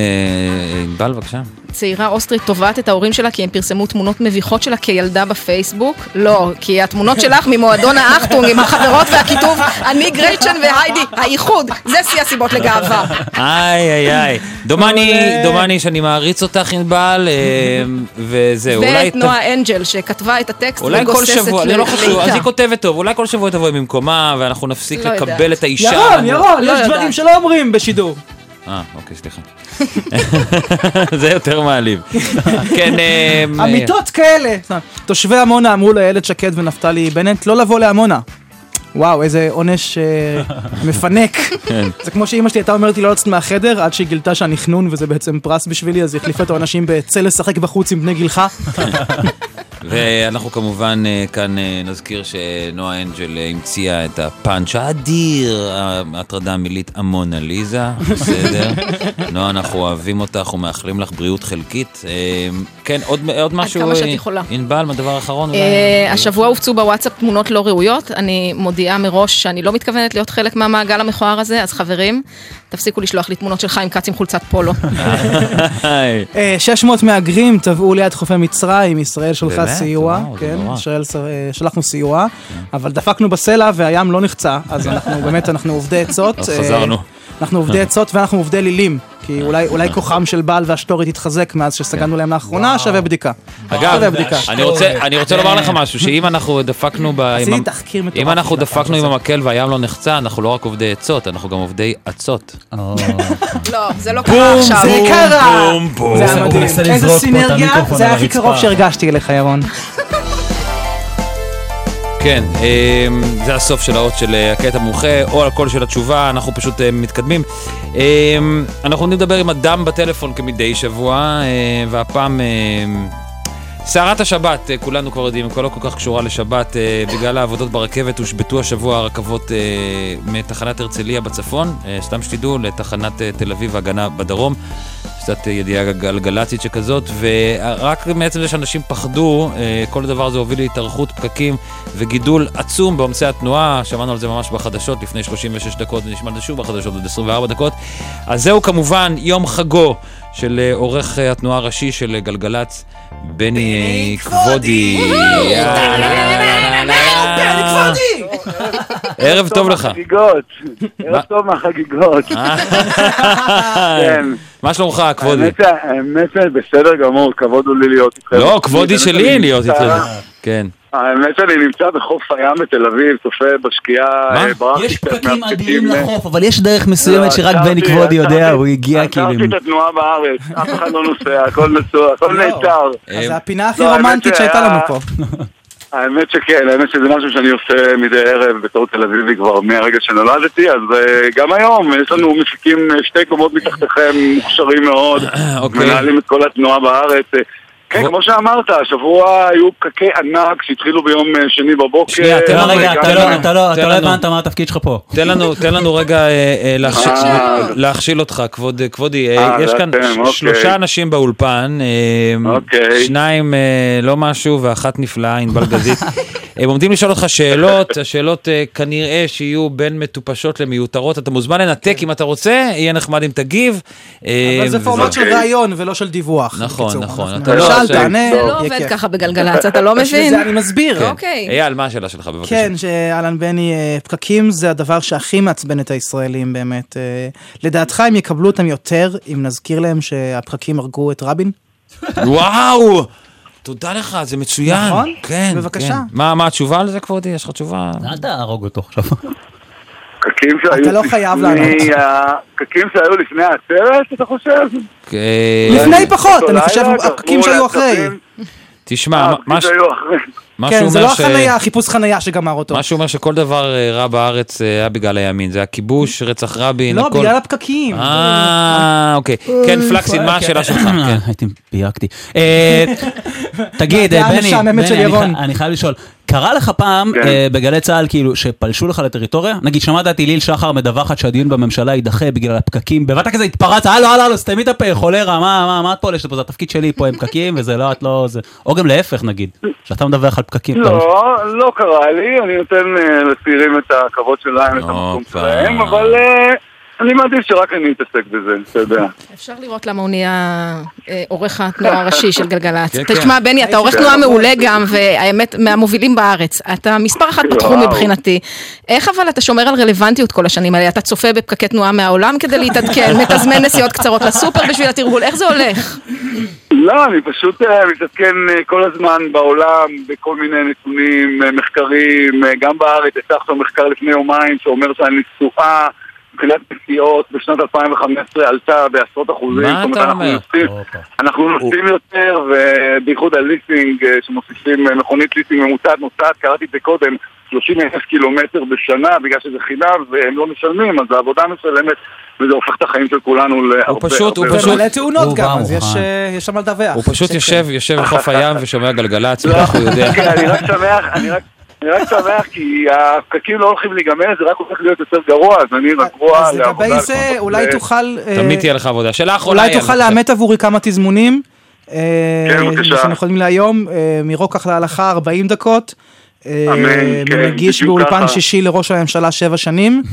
ענבל, בבקשה.
צעירה אוסטרית תובעת את ההורים שלה כי הם פרסמו תמונות מביכות שלה כילדה בפייסבוק. לא, כי התמונות שלך ממועדון האחטונג עם החברות והכיתוב אני גרייצ'ן והיידי, האיחוד, זה שיא הסיבות לגאווה.
אה, איי, איי, איי. דומני, דומני שאני מעריץ אותך, ענבל, אה, וזהו. אולי
ואת
ת-
נועה אנג'ל שכתבה את הטקסט
אולי כל
וגוססת
שבוע, זה לא חשוב, אז
לאיתה.
היא כותבת טוב, אולי כל שבוע תבואי במקומה, ואנחנו נפסיק
לא
לקבל
יודעת.
את האישה.
ירון, ירון,
לא
יש
יודעת.
דברים שלא אומרים בשידור.
אה, אוקיי, סליחה. *laughs* זה יותר מעליב. כן, אה,
אמיתות כאלה. תושבי עמונה אמרו לאיילת שקד ונפתלי בנט לא לבוא לעמונה. וואו, איזה עונש אה,
*laughs*
מפנק.
כן.
זה כמו שאימא שלי הייתה אומרת לי לא לצאת מהחדר, עד שהיא גילתה שאני חנון וזה בעצם פרס בשבילי, אז היא החליפה את האנשים בצא לשחק בחוץ עם בני גילך.
ואנחנו כמובן אה, כאן אה, נזכיר שנועה אנג'ל אה, המציאה את הפאנץ' האדיר, ההטרדה המילית עמונה ליזה,
*laughs*
בסדר? נועה, אנחנו אוהבים אותך ומאחלים לך בריאות חלקית. אה, כן, עוד עוד משהו?
כמה שאת
אה,
יכולה.
ענבל, הדבר האחרון? אולי?
אה, השבוע הופצו בוואטסאפ תמונות לא ראויות, אני מודיעה מראש שאני לא מתכוונת להיות חלק מהמעגל המכוער הזה, אז חברים, תפסיקו לשלוח לי תמונות של חיים כץ עם חולצת
*laughs*
פולו.
*laughs* היי.
אה, 600 מהגרים טבעו ליד חופי מצרים, ישראל שלחה
באמת?
סיוע,
וואו, זה
כן,
נורא. כן.
ישראל ש- אה, שלחנו סיוע, אבל דפקנו בסלע והים לא נחצה, אז אנחנו *laughs* באמת, אנחנו עובדי עצות.
אז
אה,
חזרנו. *laughs*
אנחנו עובדי עצות ואנחנו עובדי לילים, כי אולי אולי כוחם של בעל והשטורית התחזק מאז שסגרנו להם לאחרונה, שווה בדיקה. שווה
כן. אגב,
בדיקה.
אני רוצה- אני רוצה לומר לך משהו, שאם אנחנו דפקנו ב... עם ה-
תחקיר מטורף
אם אנחנו
לפני
דפקנו
הפעם
עם
הזאת.
המקל והים לא נחצה, אנחנו לא רק עובדי עצות, אנחנו גם עובדי עצות.
או,
לא, זה לא קרה עכשיו.
זה קרה! זה היה
הוא
מדהים.
מנסה
איזה
לזרוק פה את
סינרגיה,
המיקרופון
זה היה
על
הכי
הרצפה.
קרוב שהרגשתי אליך, ירון.
כן, אמ, זה הסוף של האות של אה, הקטע המומחה, או הקול של התשובה, אנחנו פשוט אה, מתקדמים. אמ, אנחנו עומדים לדבר עם אדם בטלפון כמדי שבוע, אה, והפעם... אמ, סערת השבת, אה, כולנו כבר יודעים, כבר לא כל כך קשורה לשבת. אה, בגלל העבודות ברכבת הושבתו השבוע הרכבות אה, מתחנת הרצליה בצפון, אה, סתם שתדעו, לתחנת אה, תל אביב והגנה בדרום. קצת אה, ידיעה גלגלצית שכזאת, ורק מעצם זה שאנשים פחדו, אה, כל הדבר הזה הוביל להתארכות פקקים וגידול עצום בעומסי התנועה, שמענו על זה ממש בחדשות לפני 36 דקות, ונשמע על זה שוב בחדשות עוד 24 דקות. אז זהו כמובן יום חגו של אה, עורך אה, התנועה הראשי של אה, גלגלצ, בני אה, כבודי. יאללה, יאללה,
אה,
יאללה. ערב טוב לך.
מהחגיגות.
מה?
ערב טוב מהחגיגות. כן.
מה שלומך, כבודי?
האמת, האמת, בסדר גמור, כבוד הוא לי להיות איתכם.
אוקיי. לא, כבודי
האמת
שלי
שאני
להיות
נמצא-
איתך. כן.
האמת שאני נמצא בחוף הים בתל אביב, צופה בשקיעה.
מה?
אה,
*laughs*
ברחתי
יש
קצת
פקקים
מהפקקים,
אדירים
אה,
לחוף, אבל יש דרך
לא,
מסוימת שרק
עצרתי,
בני כבודי יודע,
עצרתי-
הוא הגיע כאילו...
עצרתי את התנועה בארץ, אף אחד לא נוסע, הכל נוסע, הכל
לא.
נעצר.
אה,
אז זה הפינה הכי
לא, האמת
רומנטית
שהיה-
שהייתה לנו פה.
האמת שכן, האמת שזה משהו שאני עושה מדי ערב בתור תל אביבי כבר מהרגע שנולדתי, אז אה, גם היום יש לנו מפיקים אה, שתי קומות מתחתיכם, מוכשרים מאוד,
אוקיי.
מנהלים את כל התנועה בארץ. אה, כן,
בוא-
כמו שאמרת, השבוע היו פקקי ענק שהתחילו ביום אה, שני בבוקר.
שנייה, תן
לא,
לנו
רגע,
רגע,
אתה לא- אתה לא אתה לא
תן לנו.
הבנת מה התפקיד שלך פה.
תן לנו, תן לנו רגע אה, אה, להכשיל-
אה.
להכשיל אותך, כבוד, כבודי. אה,
אה,
יש כאן
אתם,
ש-
אוקיי.
שלושה אנשים באולפן, אה,
אוקיי.
שניים אה, לא משהו ואחת נפלאה,
*laughs*
ענבל גזית. הם עומדים לשאול אותך שאלות, השאלות אה, כנראה שיהיו בין מטופשות למיותרות, אתה מוזמן
כן.
לנתק אם אתה רוצה, יהיה נחמד אם תגיב. אה,
אבל זה
וזהו.
פורמט של
אוקיי.
ראיון ולא של דיווח.
נכון,
בקיצור.
נכון,
אנחנו-
אתה לא
שאל,
עושה-
תענה,
זה לא
יהיה
עובד
כיף.
ככה בגלגלצ, אתה לא
בשביל
מבין?
זה אני מסביר.
כן.
אוקיי.
אייל, מה השאלה שלך בבקשה?
כן, שאלן בני, אה, פקקים זה הדבר שהכי מעצבן את הישראלים באמת. אה, לדעתך הם יקבלו אותם יותר אם נזכיר להם שהפקקים הרגו את רבין?
וואו! תודה לך, זה מצוין.
נכון?
כן,
בבקשה. אה.
כן. מה מה התשובה על זה, כבודי? יש לך תשובה?
אל תהרוג אותו עכשיו.
פקקים שהיו
אתה לא חייב
לפני
לענות.
ה- פקקים שהיו לפני העצרת, אתה חושב?
אה,
לפני פחות, אני
אותו
חושב
לילה,
הפקקים
גרמו
שהיו אחרי.
לעצבים.
תשמע,
אה,
מה-
הפקקים
מה ש-
שהיו אחרי.
מה שהוא
כן, זה
אומר
לא
ש-
החנייה, החיפוש חנייה שגמר אותו.
מה שאומר שכל דבר אה, רע בארץ אה, היה בגלל הימין, זה הכיבוש, רצח רבין,
לא,
הכל.
בגלל הפקקים.
אה, אוקיי. כן, פלקסין,
אוקיי.
מה השאלה שלך? כן.
אה, הייתי, פייקתי. אה,
*laughs*
תגיד,
הדעה
אה, בני,
המשעממת
בני,
של
אני
ירון.
ח- אני חייב לשאול, קרה לך פעם
כן.
אה, בגלי צה"ל כאילו שפלשו לך לטריטוריה? נגיד, שמעת את היליל שחר מדווחת שהדיון בממשלה יידחה בגלל הפקקים, בבת כזה התפרצת, הלו, הלו, הלו, סתמי את הפה, חולרה, מה, מה, מה את פולשת פה, זה התפקיד שלי פה עם פקקים, וזה לא, את לא, זה... או גם להפך נגיד, שאתה מדווח על פקקים. אתה אומר,
לא, לא קרה לי, אני נותן אה, לצעירים את הכבוד שלהם, את
הופה.
המקום שלהם, אבל אה, אני מעדיף שרק אני אתעסק בזה, אתה יודע.
אפשר לראות למה הוא נהיה אה, עורך התנועה הראשי של גלגלצ.
כן, כן.
תשמע, בני, אתה עורך תנועה מעולה גם, והאמת, מהמובילים בארץ. אתה מספר אחת בתחום
וואו.
מבחינתי. איך אבל אתה שומר על רלוונטיות כל השנים האלה? אתה צופה בפקקי תנועה מהעולם כדי
*laughs*
להתעדכן, מתזמן נסיעות קצרות לסופר בשביל התרגול, איך זה הולך?
לא, אני פשוט אה, מתעדכן אה, כל הזמן בעולם בכל מיני נתונים, אה, מחקרים, אה, גם בארץ, יצא עכשיו מחקר לפני יומיים שאומר שהנסועה מבחינת נסיעות בשנת 2015 עלתה בעשרות אחוזים.
מה
זאת אומרת,
אתה
אנחנו
אומר?
נוסעים-
הופה.
אנחנו נוסעים יותר, ובייחוד הליסינג, אה, שמוסיפים אה, מכונית ליסינג ממוצעת נוסעת, קראתי את זה קודם, 30 אלף קילומטר בשנה, בגלל שזה חינם, והם לא משלמים, אז העבודה משלמת, וזה הופך את החיים של כולנו להרבה...
פשוט- הוא
הרבה-
פשוט-
ומלא תאונות
הוא
גם,
בא
אז יש,
מוכן.
אה, יש שם מה לדווח.
הוא פשוט
שקר.
יושב, יושב בחוף הים ושומע גלגלצ,
לא,
בטח הוא יודע.
*laughs* כן, אני רק שמח, אני רק... אני רק שמח כי הפקקים לא הולכים להיגמר, זה רק הולך להיות יותר גרוע, אז אני רגוע
אז לגבי זה, אולי תוכל... אה,
תמיד תהיה לך עבודה. שאלה אחרונה
אולי
היא על
תוכל
זה.
לאמת עבורי כמה תזמונים. אה,
כן, בבקשה.
שאנחנו יכולים להיום, אה, מרוקח להלכה 40 דקות. אה,
אמן, כן,
מגיש
בדיוק
באולפן
ככה.
שישי לראש הממשלה שבע
*laughs*
שנים,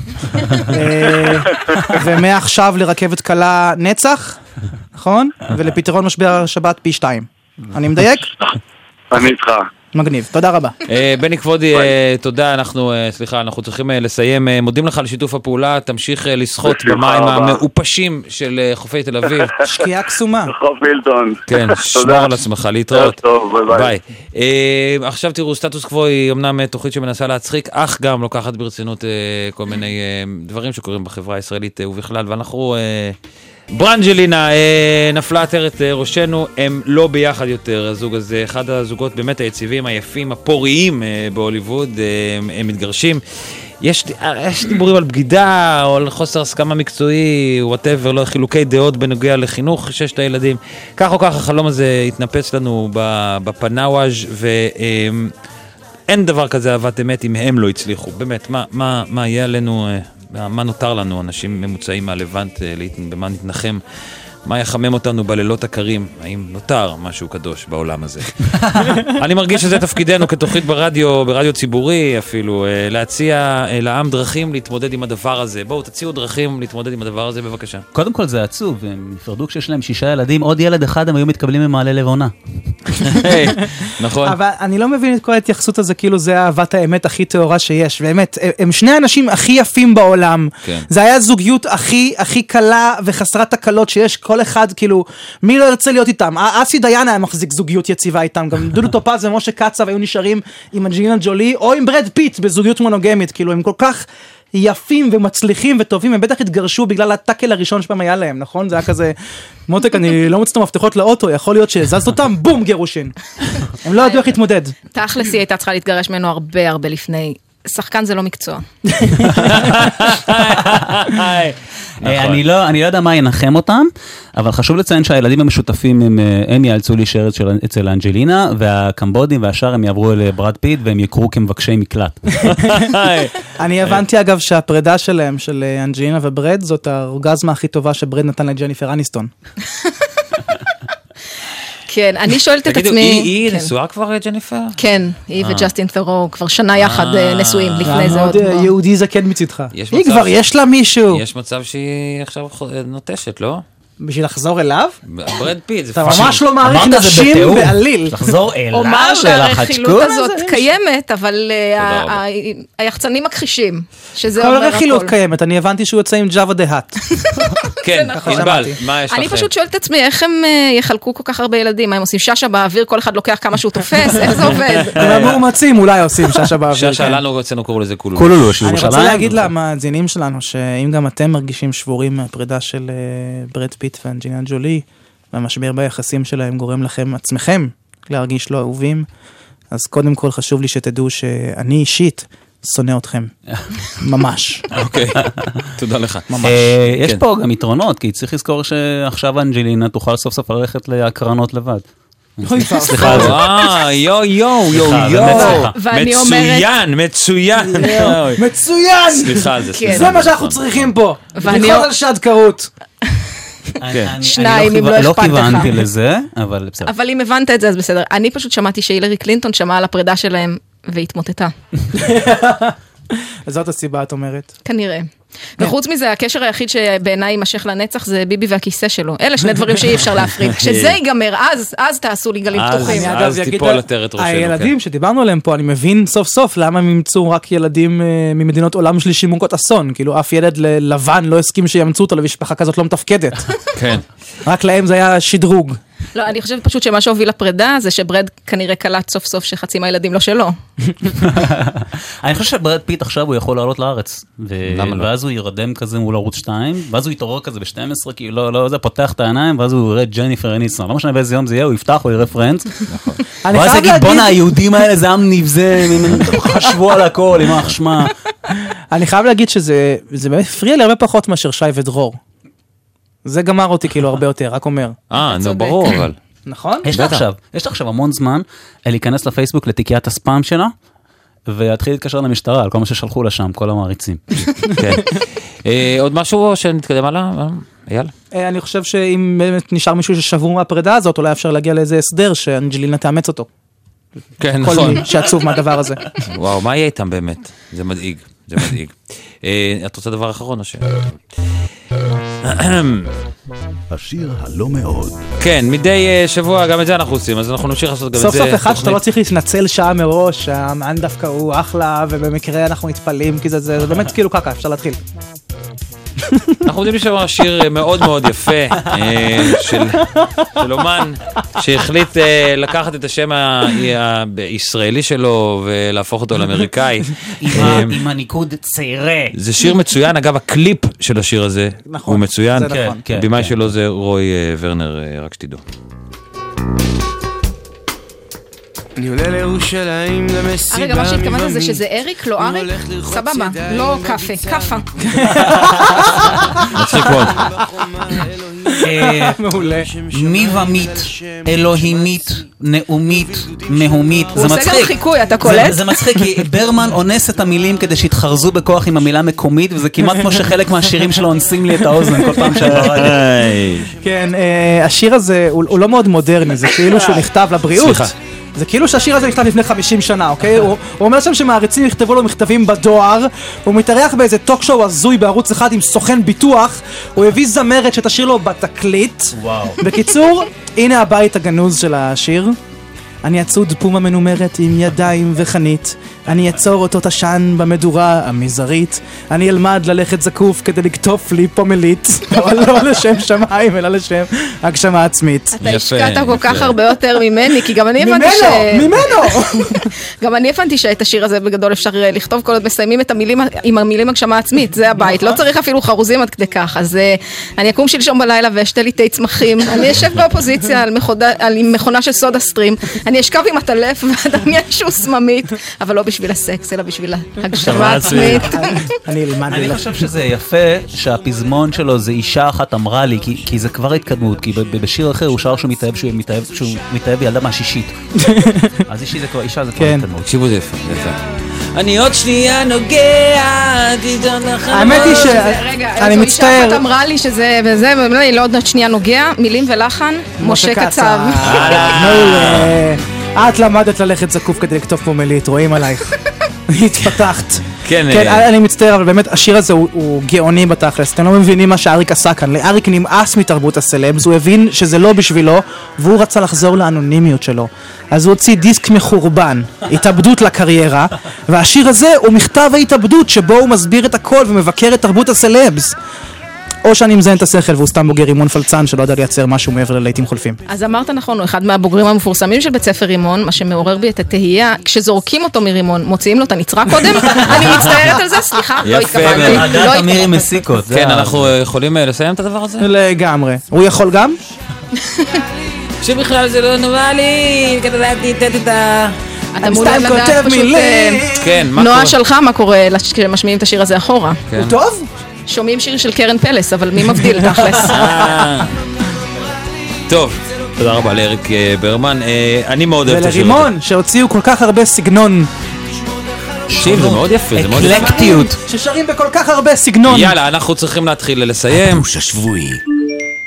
אה, ומעכשיו לרכבת קלה נצח, נכון? ולפתרון משבר השבת פי שתיים. אני מדייק?
אני איתך.
מגניב, תודה רבה.
אה, בני כבודי, אה, תודה, אנחנו, אה, סליחה, אנחנו צריכים אה, לסיים. אה, מודים לך על שיתוף הפעולה, תמשיך אה, לשחות
בשמחה
במים
רבה.
המעופשים של אה, חופי תל
*laughs*
אביב.
שקיעה קסומה.
חוף מילטון.
כן, שמור
*laughs* תודה.
על עצמך, להתראות.
טוב, ביי ביי.
ביי. אה, עכשיו תראו, סטטוס קוו היא אמנם אה, תוכנית שמנסה להצחיק, אך גם לוקחת ברצינות אה, כל מיני אה, דברים שקורים בחברה הישראלית אה, ובכלל, ואנחנו... אה, ברנג'לינה, אה, נפלה עטרת אה, ראשנו, הם לא ביחד יותר, הזוג הזה, אחד הזוגות באמת היציבים, היפים, הפוריים אה, בהוליווד, אה, הם- הם מתגרשים. יש, אה, יש דיבורים על בגידה, או על חוסר הסכמה מקצועי, וואטאבר, לא, חילוקי דעות בנוגע לחינוך ששת הילדים. כך או כך, החלום הזה התנפץ לנו ב- בפנאוואז' ו... אה, אין דבר כזה אהבת אמת אם הם לא הצליחו. באמת, מה, מה, מה יהיה עלינו, אה, מה, מה נותר לנו, אנשים ממוצעים מהלבנט, אה, להת- במה נתנחם? מה יחמם אותנו בלילות הקרים? האם נותר משהו קדוש בעולם הזה? אני מרגיש שזה תפקידנו כתוכנית ברדיו, ברדיו ציבורי אפילו, אה, להציע אה, לעם דרכים להתמודד עם הדבר הזה. בואו, תציעו דרכים להתמודד עם הדבר הזה, בבקשה.
קודם כל זה עצוב, הם נפרדו כשיש להם שישה ילדים, עוד ילד אחד הם היו מתקבלים ממעלה לבונה.
היי, נכון?
אבל אני לא מבין את כל ההתייחסות הזה, כאילו זה אהבת האמת הכי טהורה שיש, באמת, הם שני האנשים הכי יפים בעולם.
כן.
זה היה זוגיות הכי הכי קלה וחסרת תקלות שיש, כל אחד, כאילו, מי לא ירצה להיות איתם? א- אסי דיין היה מחזיק זוגיות יציבה איתם, גם דודו טופז ומשה קצב היו נשארים עם אנג'לינה ג'ולי, או עם ברד פיט בזוגיות מונוגמית, כאילו, הם כל כך... יפים ומצליחים וטובים, הם בטח התגרשו בגלל הטאקל הראשון שפעם היה להם, נכון? זה היה כזה, מותק, אני לא מוצא את המפתחות לאוטו, יכול להיות שהזזת אותם, בום, גירושין. הם לא ידעו איך להתמודד.
תכלס היא הייתה צריכה להתגרש ממנו הרבה הרבה לפני. שחקן זה לא מקצוע. נכון.
אה,
נכון.
אני לא אני לא יודע מה ינחם אותם, אבל חשוב לציין שהילדים המשותפים הם, אה, הם יאלצו להישאר אצל- אצל האנג'לינה, והקמבודים והשאר הם יעברו אל אה, ברד פיט והם יוכרו כמבקשי
*laughs*
מקלט.
היי.
אני הבנתי אגב שהפרידה שלהם, של אה, אנג'לינה וברד, זאת האורגזמה הכי טובה שברד נתן לג'ניפר אניסטון.
כן, אני שואלת את עצמי...
תגידו, היא- היא אה.
כן.
נשואה כבר, אה, ג'ניפר?
כן, היא וג'סטין ת'רו כבר שנה יחד אה, נשואים, לפני זה
מאוד
עוד...
אה,
לא.
יהודי זקן מצידך.
יש
היא
מצב
כבר
ש-
יש לה מישהו.
יש מצב שהיא עכשיו ח- נוטשת, לא?
בשביל לחזור אליו?
ברד פיט, זה
אתה
פאקינג-
ממש לא מעריך
אמרת זה
נשים
בתיאום.
בעליל.
לחזור אליו,
אומר שהרכילות
חצ'קול?
הזאת קיימת, אבל אה,
תודה רבה.
ה- ה- היחצנים מכחישים, שזה
כל
אומר
רכילות
הכל.
קיימת, אני הבנתי שהוא יוצא עם ג'אווה דה האט.
כן,
נכון.
ענבל,
שמעתי.
מה יש לך?
אני פשוט שואלת את עצמי, איך הם אה, יחלקו כל כך הרבה ילדים? מה הם עושים שאשא באוויר, כל אחד לוקח כמה שהוא
*laughs*
תופס, איך זה עובד?
הם המאומצים אולי עושים שאשא באוויר.
שאשא לנו אצלנו קוראים לזה כולו.
קולולו של
אני
ירושלים.
רוצה להגיד למאזינים שלנו, שאם גם אתם מרגישים שבורים מהפרידה של אה, ברד פיט ואנג'ינה ג'ולי, והמשבר ביחסים שלהם גורם לכם עצמכם להרגיש לא אהובים, אז קודם כל חשוב לי שתדעו שאני אישית שונא אתכם. ממש.
אוקיי, תודה לך.
אה, יש
כן.
פה גם יתרונות, כי צריך לזכור שעכשיו אנג'לינה תוכל סוף סוף ללכת להקרנות לבד. סליחה
לא.
על זה.
וואו, אה, יואו, יואו, יואו,
סליחה,
יואו.
באמת סליחה.
ואני
מצוין, מצוין. אוי,
מצוין!
סליחה על זה, סליחה. נכון, כן.
זה
על
מה שאנחנו צריכים פה.
ואני-
בדיחות על שדכרות.
כן.
אני- אני-
שניים,
אני
אם לא
לא
אכפת לך.
כיוונתי לזה, אבל בסדר.
אבל אם הבנת את זה, אז בסדר. אני פשוט שמעתי שהילרי קלינטון שמעה על הפרידה שלהם והתמוטטה,
זאת הסיבה, את אומרת.
כנראה. וחוץ מזה, הקשר היחיד שבעיניי יימשך לנצח זה ביבי והכיסא שלו. אלה שני דברים שאי אפשר
*laughs*
להפריד. כשזה ייגמר, אז, אז תעשו לי גלים
אז-
פתוחים.
אני,
אז
אגב, אגיד
תיפול
לה-
עטרת ראשנו, כן.
הילדים שדיברנו עליהם פה, אני מבין סוף סוף למה הם אימצו רק ילדים אה, ממדינות עולם שלישי מוכות אסון. כאילו, אף ילד ל- לבן לא הסכים שיאמצו אותו למשפחה כזאת
*laughs*
לא מתפקדת.
זה. כן.
נכון. רק להם זה היה שדרוג.
לא, אני חושבת פשוט שמה שהוביל לפרידה זה שברד כנראה קלט סוף סוף שחצי מהילדים לא שלו.
אני חושב שברד פיט עכשיו הוא יכול לעלות לארץ. ו-
למה לא?
ואז הוא ירדם כזה מול ערוץ 2, ואז הוא יתעורר כזה ב-12, כאילו לא, לא, זה פותח את העיניים, ואז הוא יראה את ג'ניפר אניסון. לא משנה באיזה יום זה יהיה, הוא יפתח, הוא יראה פרנדס.
*laughs* אני
ואז
חייב
יגיד,
להגיד-
בואנה, היהודים האלה זה עם נבזה, הם- הם חשבו על הכל,
*laughs*
יימח שמה.
אני חייב להגיד שזה זה באמת הפריע לי הרבה פחות מאשר שי ודרור. זה גמר אותי כאילו הרבה יותר, רק אומר.
אה, נו,
צודק.
ברור, אבל.
נכון?
יש לה עכשיו, יש לה עכשיו המון זמן אה, להיכנס לפייסבוק לתיקיית הספאם שלה, ולהתחיל להתקשר למשטרה על כל מה ששלחו לה שם, כל המעריצים.
כן. אה, עוד משהו או שנתקדם הלאה? אה, אייל?
אה, אני חושב שאם באמת נשאר מישהו ששבור מהפרידה הזאת, אולי אפשר להגיע לאיזה הסדר שאנג'לינה תאמץ אותו.
כן,
כל מי שעצוב מהדבר הזה.
וואו, מה יהיה איתם באמת? זה מדאיג, זה מדאיג. אה, את רוצה דבר אחרון או ש...
השיר הלא מאוד.
כן, מדי אה, שבוע גם את זה אנחנו עושים, אז אנחנו נמשיך לעשות גם את זה.
סוף סוף אחד שאתה
תוכנית.
לא צריך להתנצל שעה מראש, המען דווקא הוא אחלה, ובמקרה אנחנו מתפלאים, כי זה- זה זה באמת כאילו ככה, אפשר
*laughs*
להתחיל.
אנחנו יודעים לשמוע שיר אה, מאוד מאוד יפה אה, של, של אומן שהחליט אה, לקחת את השם ה- ה- הישראלי שלו ולהפוך אותו לאמריקאי. אה,
עם הניקוד צעירה.
זה שיר מצוין, אגב הקליפ של השיר הזה
נכון,
הוא מצוין.
זה נכון.
כן, כן.
הבמאי שלו זה רוי אה, ורנר, אה, רק שתדעו.
אני עולה לירושלים
אה,
למסיבה
רגע, מה שהתכוונת זה
מבמית.
שזה אריק, לא
הוא
אריק?
הולך לרחוץ
סבבה,
ידיים
לא
עם
כאפה,
הביצה.
כאפה.
מצחיק
*laughs*
מאוד.
בחומה, אלוהים,
אה,
מעולה.
מיבמית, אלוהימית, נאומית, מהומית,
הוא
זה
עושה גם
מצחיק.
חיקוי, אתה
זה,
קולט?
זה מצחיק,
*laughs*
כי ברמן אונס את המילים כדי שיתחרזו בכוח עם המילה מקומית, וזה כמעט כמו שחלק מהשירים שלו אונסים לי את האוזן כל פעם שאני ברדיו.
כן, אה, השיר הזה הוא הוא לא מאוד מודרני, זה כאילו שהוא נכתב לבריאות.
סליחה.
זה כאילו שהשיר הזה נכתב לפני 50 שנה, אוקיי? הוא הוא אומר שם שמעריצים יכתבו לו מכתבים בדואר, הוא מתארח באיזה טוק שואו הזוי בערוץ אחד עם סוכן ביטוח, הוא הביא זמרת שתשאיר לו בתקליט.
וואו.
בקיצור, הנה הבית הגנוז של השיר. אני אצוד פומה מנומרת עם ידיים וחנית. אני אצור אותו תשן במדורה המזערית. אני אלמד ללכת זקוף כדי לקטוף לי פומלית, *laughs* אבל לא לשם שמיים, אלא לשם הגשמה עצמית.
אתה
יפה,
השקעת כל
יפה.
כך הרבה יותר ממני, כי גם אני הבנתי ש...
ממנו! ממנו!
גם אני הבנתי שאת השיר הזה בגדול אפשר אה, לכתוב כל עוד מסיימים את המילים עם המילים הגשמה עצמית, זה הבית. לא צריך אפילו חרוזים עד כדי כך. אז אה, אני אקום שלשום בלילה ואשתה לי תה צמחים. *laughs* אני אשב באופוזיציה על מכודה- על- עם מכונה של סודה סטרים. אני אשכב עם הטלף *laughs* ואדמיין שהוא סממית, אבל לא בשביל הסקס, אלא בשביל הגשמה עצמית.
אני אלמד
אני
ללכת.
חושב שזה יפה שהפזמון שלו זה אישה אחת אמרה לי, כי, כי זה כבר התקדמות, כי ב- ב- בשיר אחר הוא שר שהוא מתאהב שהוא מתאהב, שהוא מתאהב בילדה מהשישית. אז אישי זה כבר, אישה זה כבר
כן.
התקדמות.
תקשיבו, זה יפה, זה יפה. אני עוד שנייה נוגע, תדעון לחלום.
האמת היא ש...
אה, רגע,
אני
זו אישה אחת
מצטער.
אמרה לי שזה וזה, ואומרים לא עוד שנייה נוגע, מילים ולחן, משה קצב.
אה,
אה.
מעולה. אה, את למדת ללכת זקוף כדי לקטוף פומלית,
*laughs*
רואים עלייך. התפתחת.
כן,
כן,
אה,
אני מצטער, אבל באמת השיר הזה הוא- הוא גאוני בתכלס. אתם לא מבינים מה שאריק עשה כאן. לאריק נמאס מתרבות הסלבס, הוא הבין שזה לא בשבילו, והוא רצה לחזור לאנונימיות שלו. אז הוא הוציא
*laughs*
דיסק מחורבן, התאבדות לקריירה, והשיר הזה הוא מכתב ההתאבדות שבו הוא מסביר את הכל ומבקר את תרבות הסלבס. או שאני מזיין את השכל והוא סתם בוגר רימון פלצן שלא יודע לייצר משהו מעבר ללהיטים חולפים.
אז אמרת נכון, הוא אחד מהבוגרים המפורסמים של בית ספר רימון, מה שמעורר בי את התהייה, כשזורקים אותו מרימון, מוציאים לו את הנצרה
*laughs*
קודם? אני מצטערת על זה, סליחה, לא
יפה
אוקיי.
התכוונתי.
מאוד.
לא
הדעת מירי
התכוונתי.
מסיקות. זה
כן,
ה-
אנחנו אה, יכולים אה, לסיים את הדבר הזה?
לגמרי. הוא יכול גם?
שבכלל זה לא נורמלי, קטטטטטטה.
אתה מעוניין לדעת פשוט... אה,
כן, מה קורה?
נועה שלחה מה קורה לש- כשמשמיעים את השיר הזה אחורה.
כן.
טוב?
שומעים שיר של קרן פלס, אבל מי מבדיל
*laughs*
תכלס?
אה. טוב, תודה רבה לאריק אה, ברמן. אה, אני מאוד אוהב את השיר הזה.
ולרימון, שהוציאו כל כך הרבה סגנון.
תקשיב, זה מאוד יפה, זה מאוד יפה.
אקלקטיות.
ששרים בכל כך הרבה סגנון.
יאללה, אנחנו צריכים להתחיל לסיים.
פוש השבועי.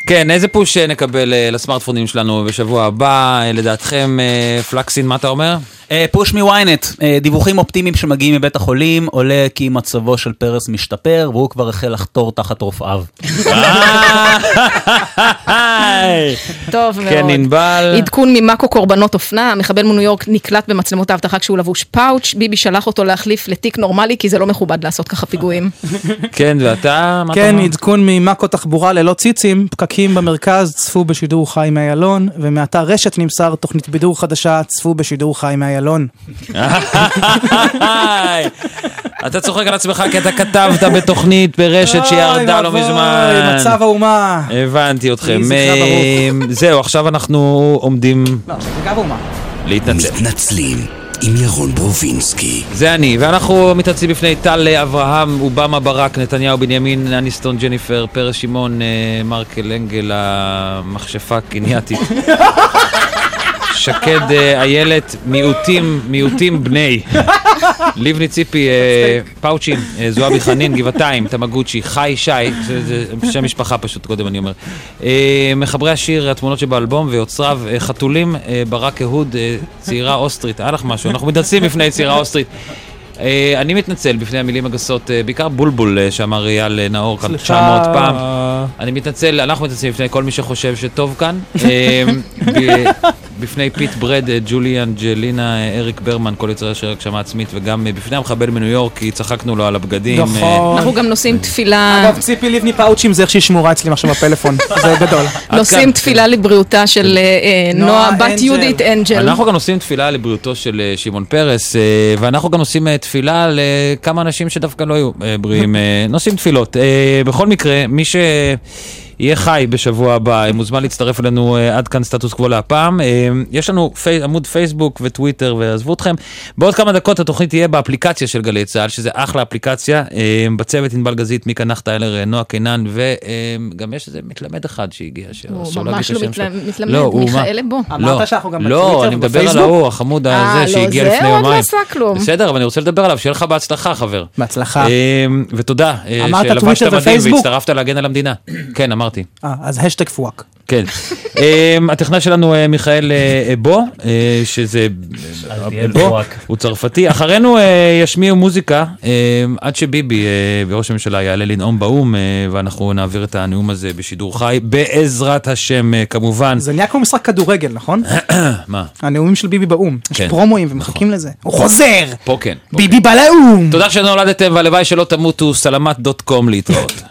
כן, איזה פוש אה, נקבל אה, לסמארטפונים שלנו בשבוע הבא? אה, לדעתכם, אה, פלקסין, מה אתה אומר?
אה, פוש מוויינט, אה, דיווחים אופטימיים שמגיעים מבית החולים, עולה כי מצבו של פרס משתפר, והוא כבר החל לחתור תחת רופאיו.
היי.
טוב מאוד.
כן, ענבל.
עדכון ממאקו קורבנות אופנה, המחבל מניו יורק נקלט במצלמות האבטחה כשהוא לבוש פאוץ', ביבי שלח אותו להחליף לתיק נורמלי כי זה לא מכובד לעשות ככה פיגועים.
כן, ואתה? מה אתה
כן,
אומר?
עדכון ממאקו תחבורה ללא ציצים, פקקים במרכז צפו בשידור חי מאיילון, ומאתר רשת נמסר תוכנית בידור חדשה צפו בשידור חי מאיילון.
היי. אתה צוחק על עצמך כי אתה כתבת בתוכנית ברשת
אוי
שירדה לא
ואבוי,
מזמן.
מצב האומה.
הבנתי אתכם.
יהי זכרה ברוך.
אה, זהו, עכשיו אנחנו עומדים
לא, עכשיו זה גם אומה.
להתנצל.
מתנצלים עם ירון ברובינסקי.
זה אני, ואנחנו מתעצים בפני טל אה, אברהם, אובמה ברק, נתניהו בנימין, אניסטון, ג'ניפר, פרס שמעון, אה, מרקל אנגל, המכשפה הקנייתית. שקד אה, איילת, מיעוטים, מיעוטים בני. לבני ציפי, אה, פאוצ'ין, אה, זועבי חנין, גבעתיים, תמגוצ'י, חי שי, זה- זה שם משפחה פשוט קודם אני אומר. אה, מחברי השיר, התמונות שבאלבום ויוצריו, אה, חתולים, אה, ברק אהוד, אה, צעירה אוסטרית, היה לך משהו, אנחנו מתנצלים בפני צעירה אוסטרית. אה, אני מתנצל בפני המילים הגסות, אה, בעיקר בולבול אה, שאמר אייל אה, נאור כאן 900 פעם.
אה,
אני מתנצל, אנחנו מתנצלים בפני כל מי שחושב שטוב כאן. אה, ב- בפני פיט ברד, אה, ג'ולי אנג'לינה, אה, אריק ברמן, כל יוצרי השיר הגשמה עצמית, וגם אה, בפני המחבל מניו יורק, כי צחקנו לו על הבגדים. אה,
נכון.
אנחנו גם נושאים תפילה,
אגב, ציפי לבני פאוצ'ים זה איך שהיא שמורה אצלי עכשיו בפלאפון, זה גדול.
נושאים
עד כאן.
תפילה לבריאותה של אה, אה, נועה,
נועה
בת
אנג'ל.
יהודית אנג'ל.
אנחנו גם עושים תפילה לבריאותו של אה, שמעון פרס, אה, ואנחנו גם עושים אה, תפילה לכמה אנשים שדווקא לא היו אה, בריאים. אה, נושאים תפילות. אה, בכל מקרה, מי ש... יהיה חי בשבוע הבא, אה, מוזמן להצטרף אלינו אה, עד כאן סטטוס קוו להפעם. אה, יש לנו פי, עמוד פייסבוק וטוויטר ועזבו אתכם. בעוד כמה דקות התוכנית תהיה באפליקציה של גלי צה"ל, שזה אחלה אפליקציה. אה, בצוות ענבל גזית, מיקה נחת איילר, אה, נועה קינן, וגם יש איזה מתלמד אחד שהגיע, שאסור
הוא
להגיד
ממש
את
לא
השם שלו.
מתלמד,
לא,
מתלמד,
הוא מה-
מיכאל לבו.
אמרת
לא,
שאנחנו גם
לא,
בטוויטר
אני מדבר על
ובפייסבוק?
ההוא, החמוד
אה,
הזה
לא,
שהגיע
זה
לפני
עוד לא
יומיים.
עשה כלום.
בסדר, אבל אני רוצה לדבר עליו, שיהיה לך בהצלחה, חבר.
בהצלחה.
אמ, ותודה, אה,
אמרת
שלבשת
טוויטר
מדים
ופייסבוק?
והצטרפת להגן על המדינה. כן, אמרתי.
אה, אז השטג פואק.
כן. אמ, הטכנאי שלנו אה, מיכאל אה, אה, בו, אה, שזה אה,
תהיה
בו,
מפורק.
הוא צרפתי. אחרינו אה, ישמיעו מוזיקה אה, עד שביבי אה, וראש הממשלה יעלה לנאום באו"ם, אה, ואנחנו נעביר את הנאום הזה בשידור חי, בעזרת השם אה, כמובן.
זה נהיה כמו משחק כדורגל, נכון?
*coughs* מה?
הנאומים של ביבי באו"ם. יש
כן.
פרומואים ומחכים לזה. הוא חוזר!
פה כן. פה
ביבי בא לאו"ם!
תודה שנולדתם והלוואי שלא תמותו, סלמת דוט קום להתראות.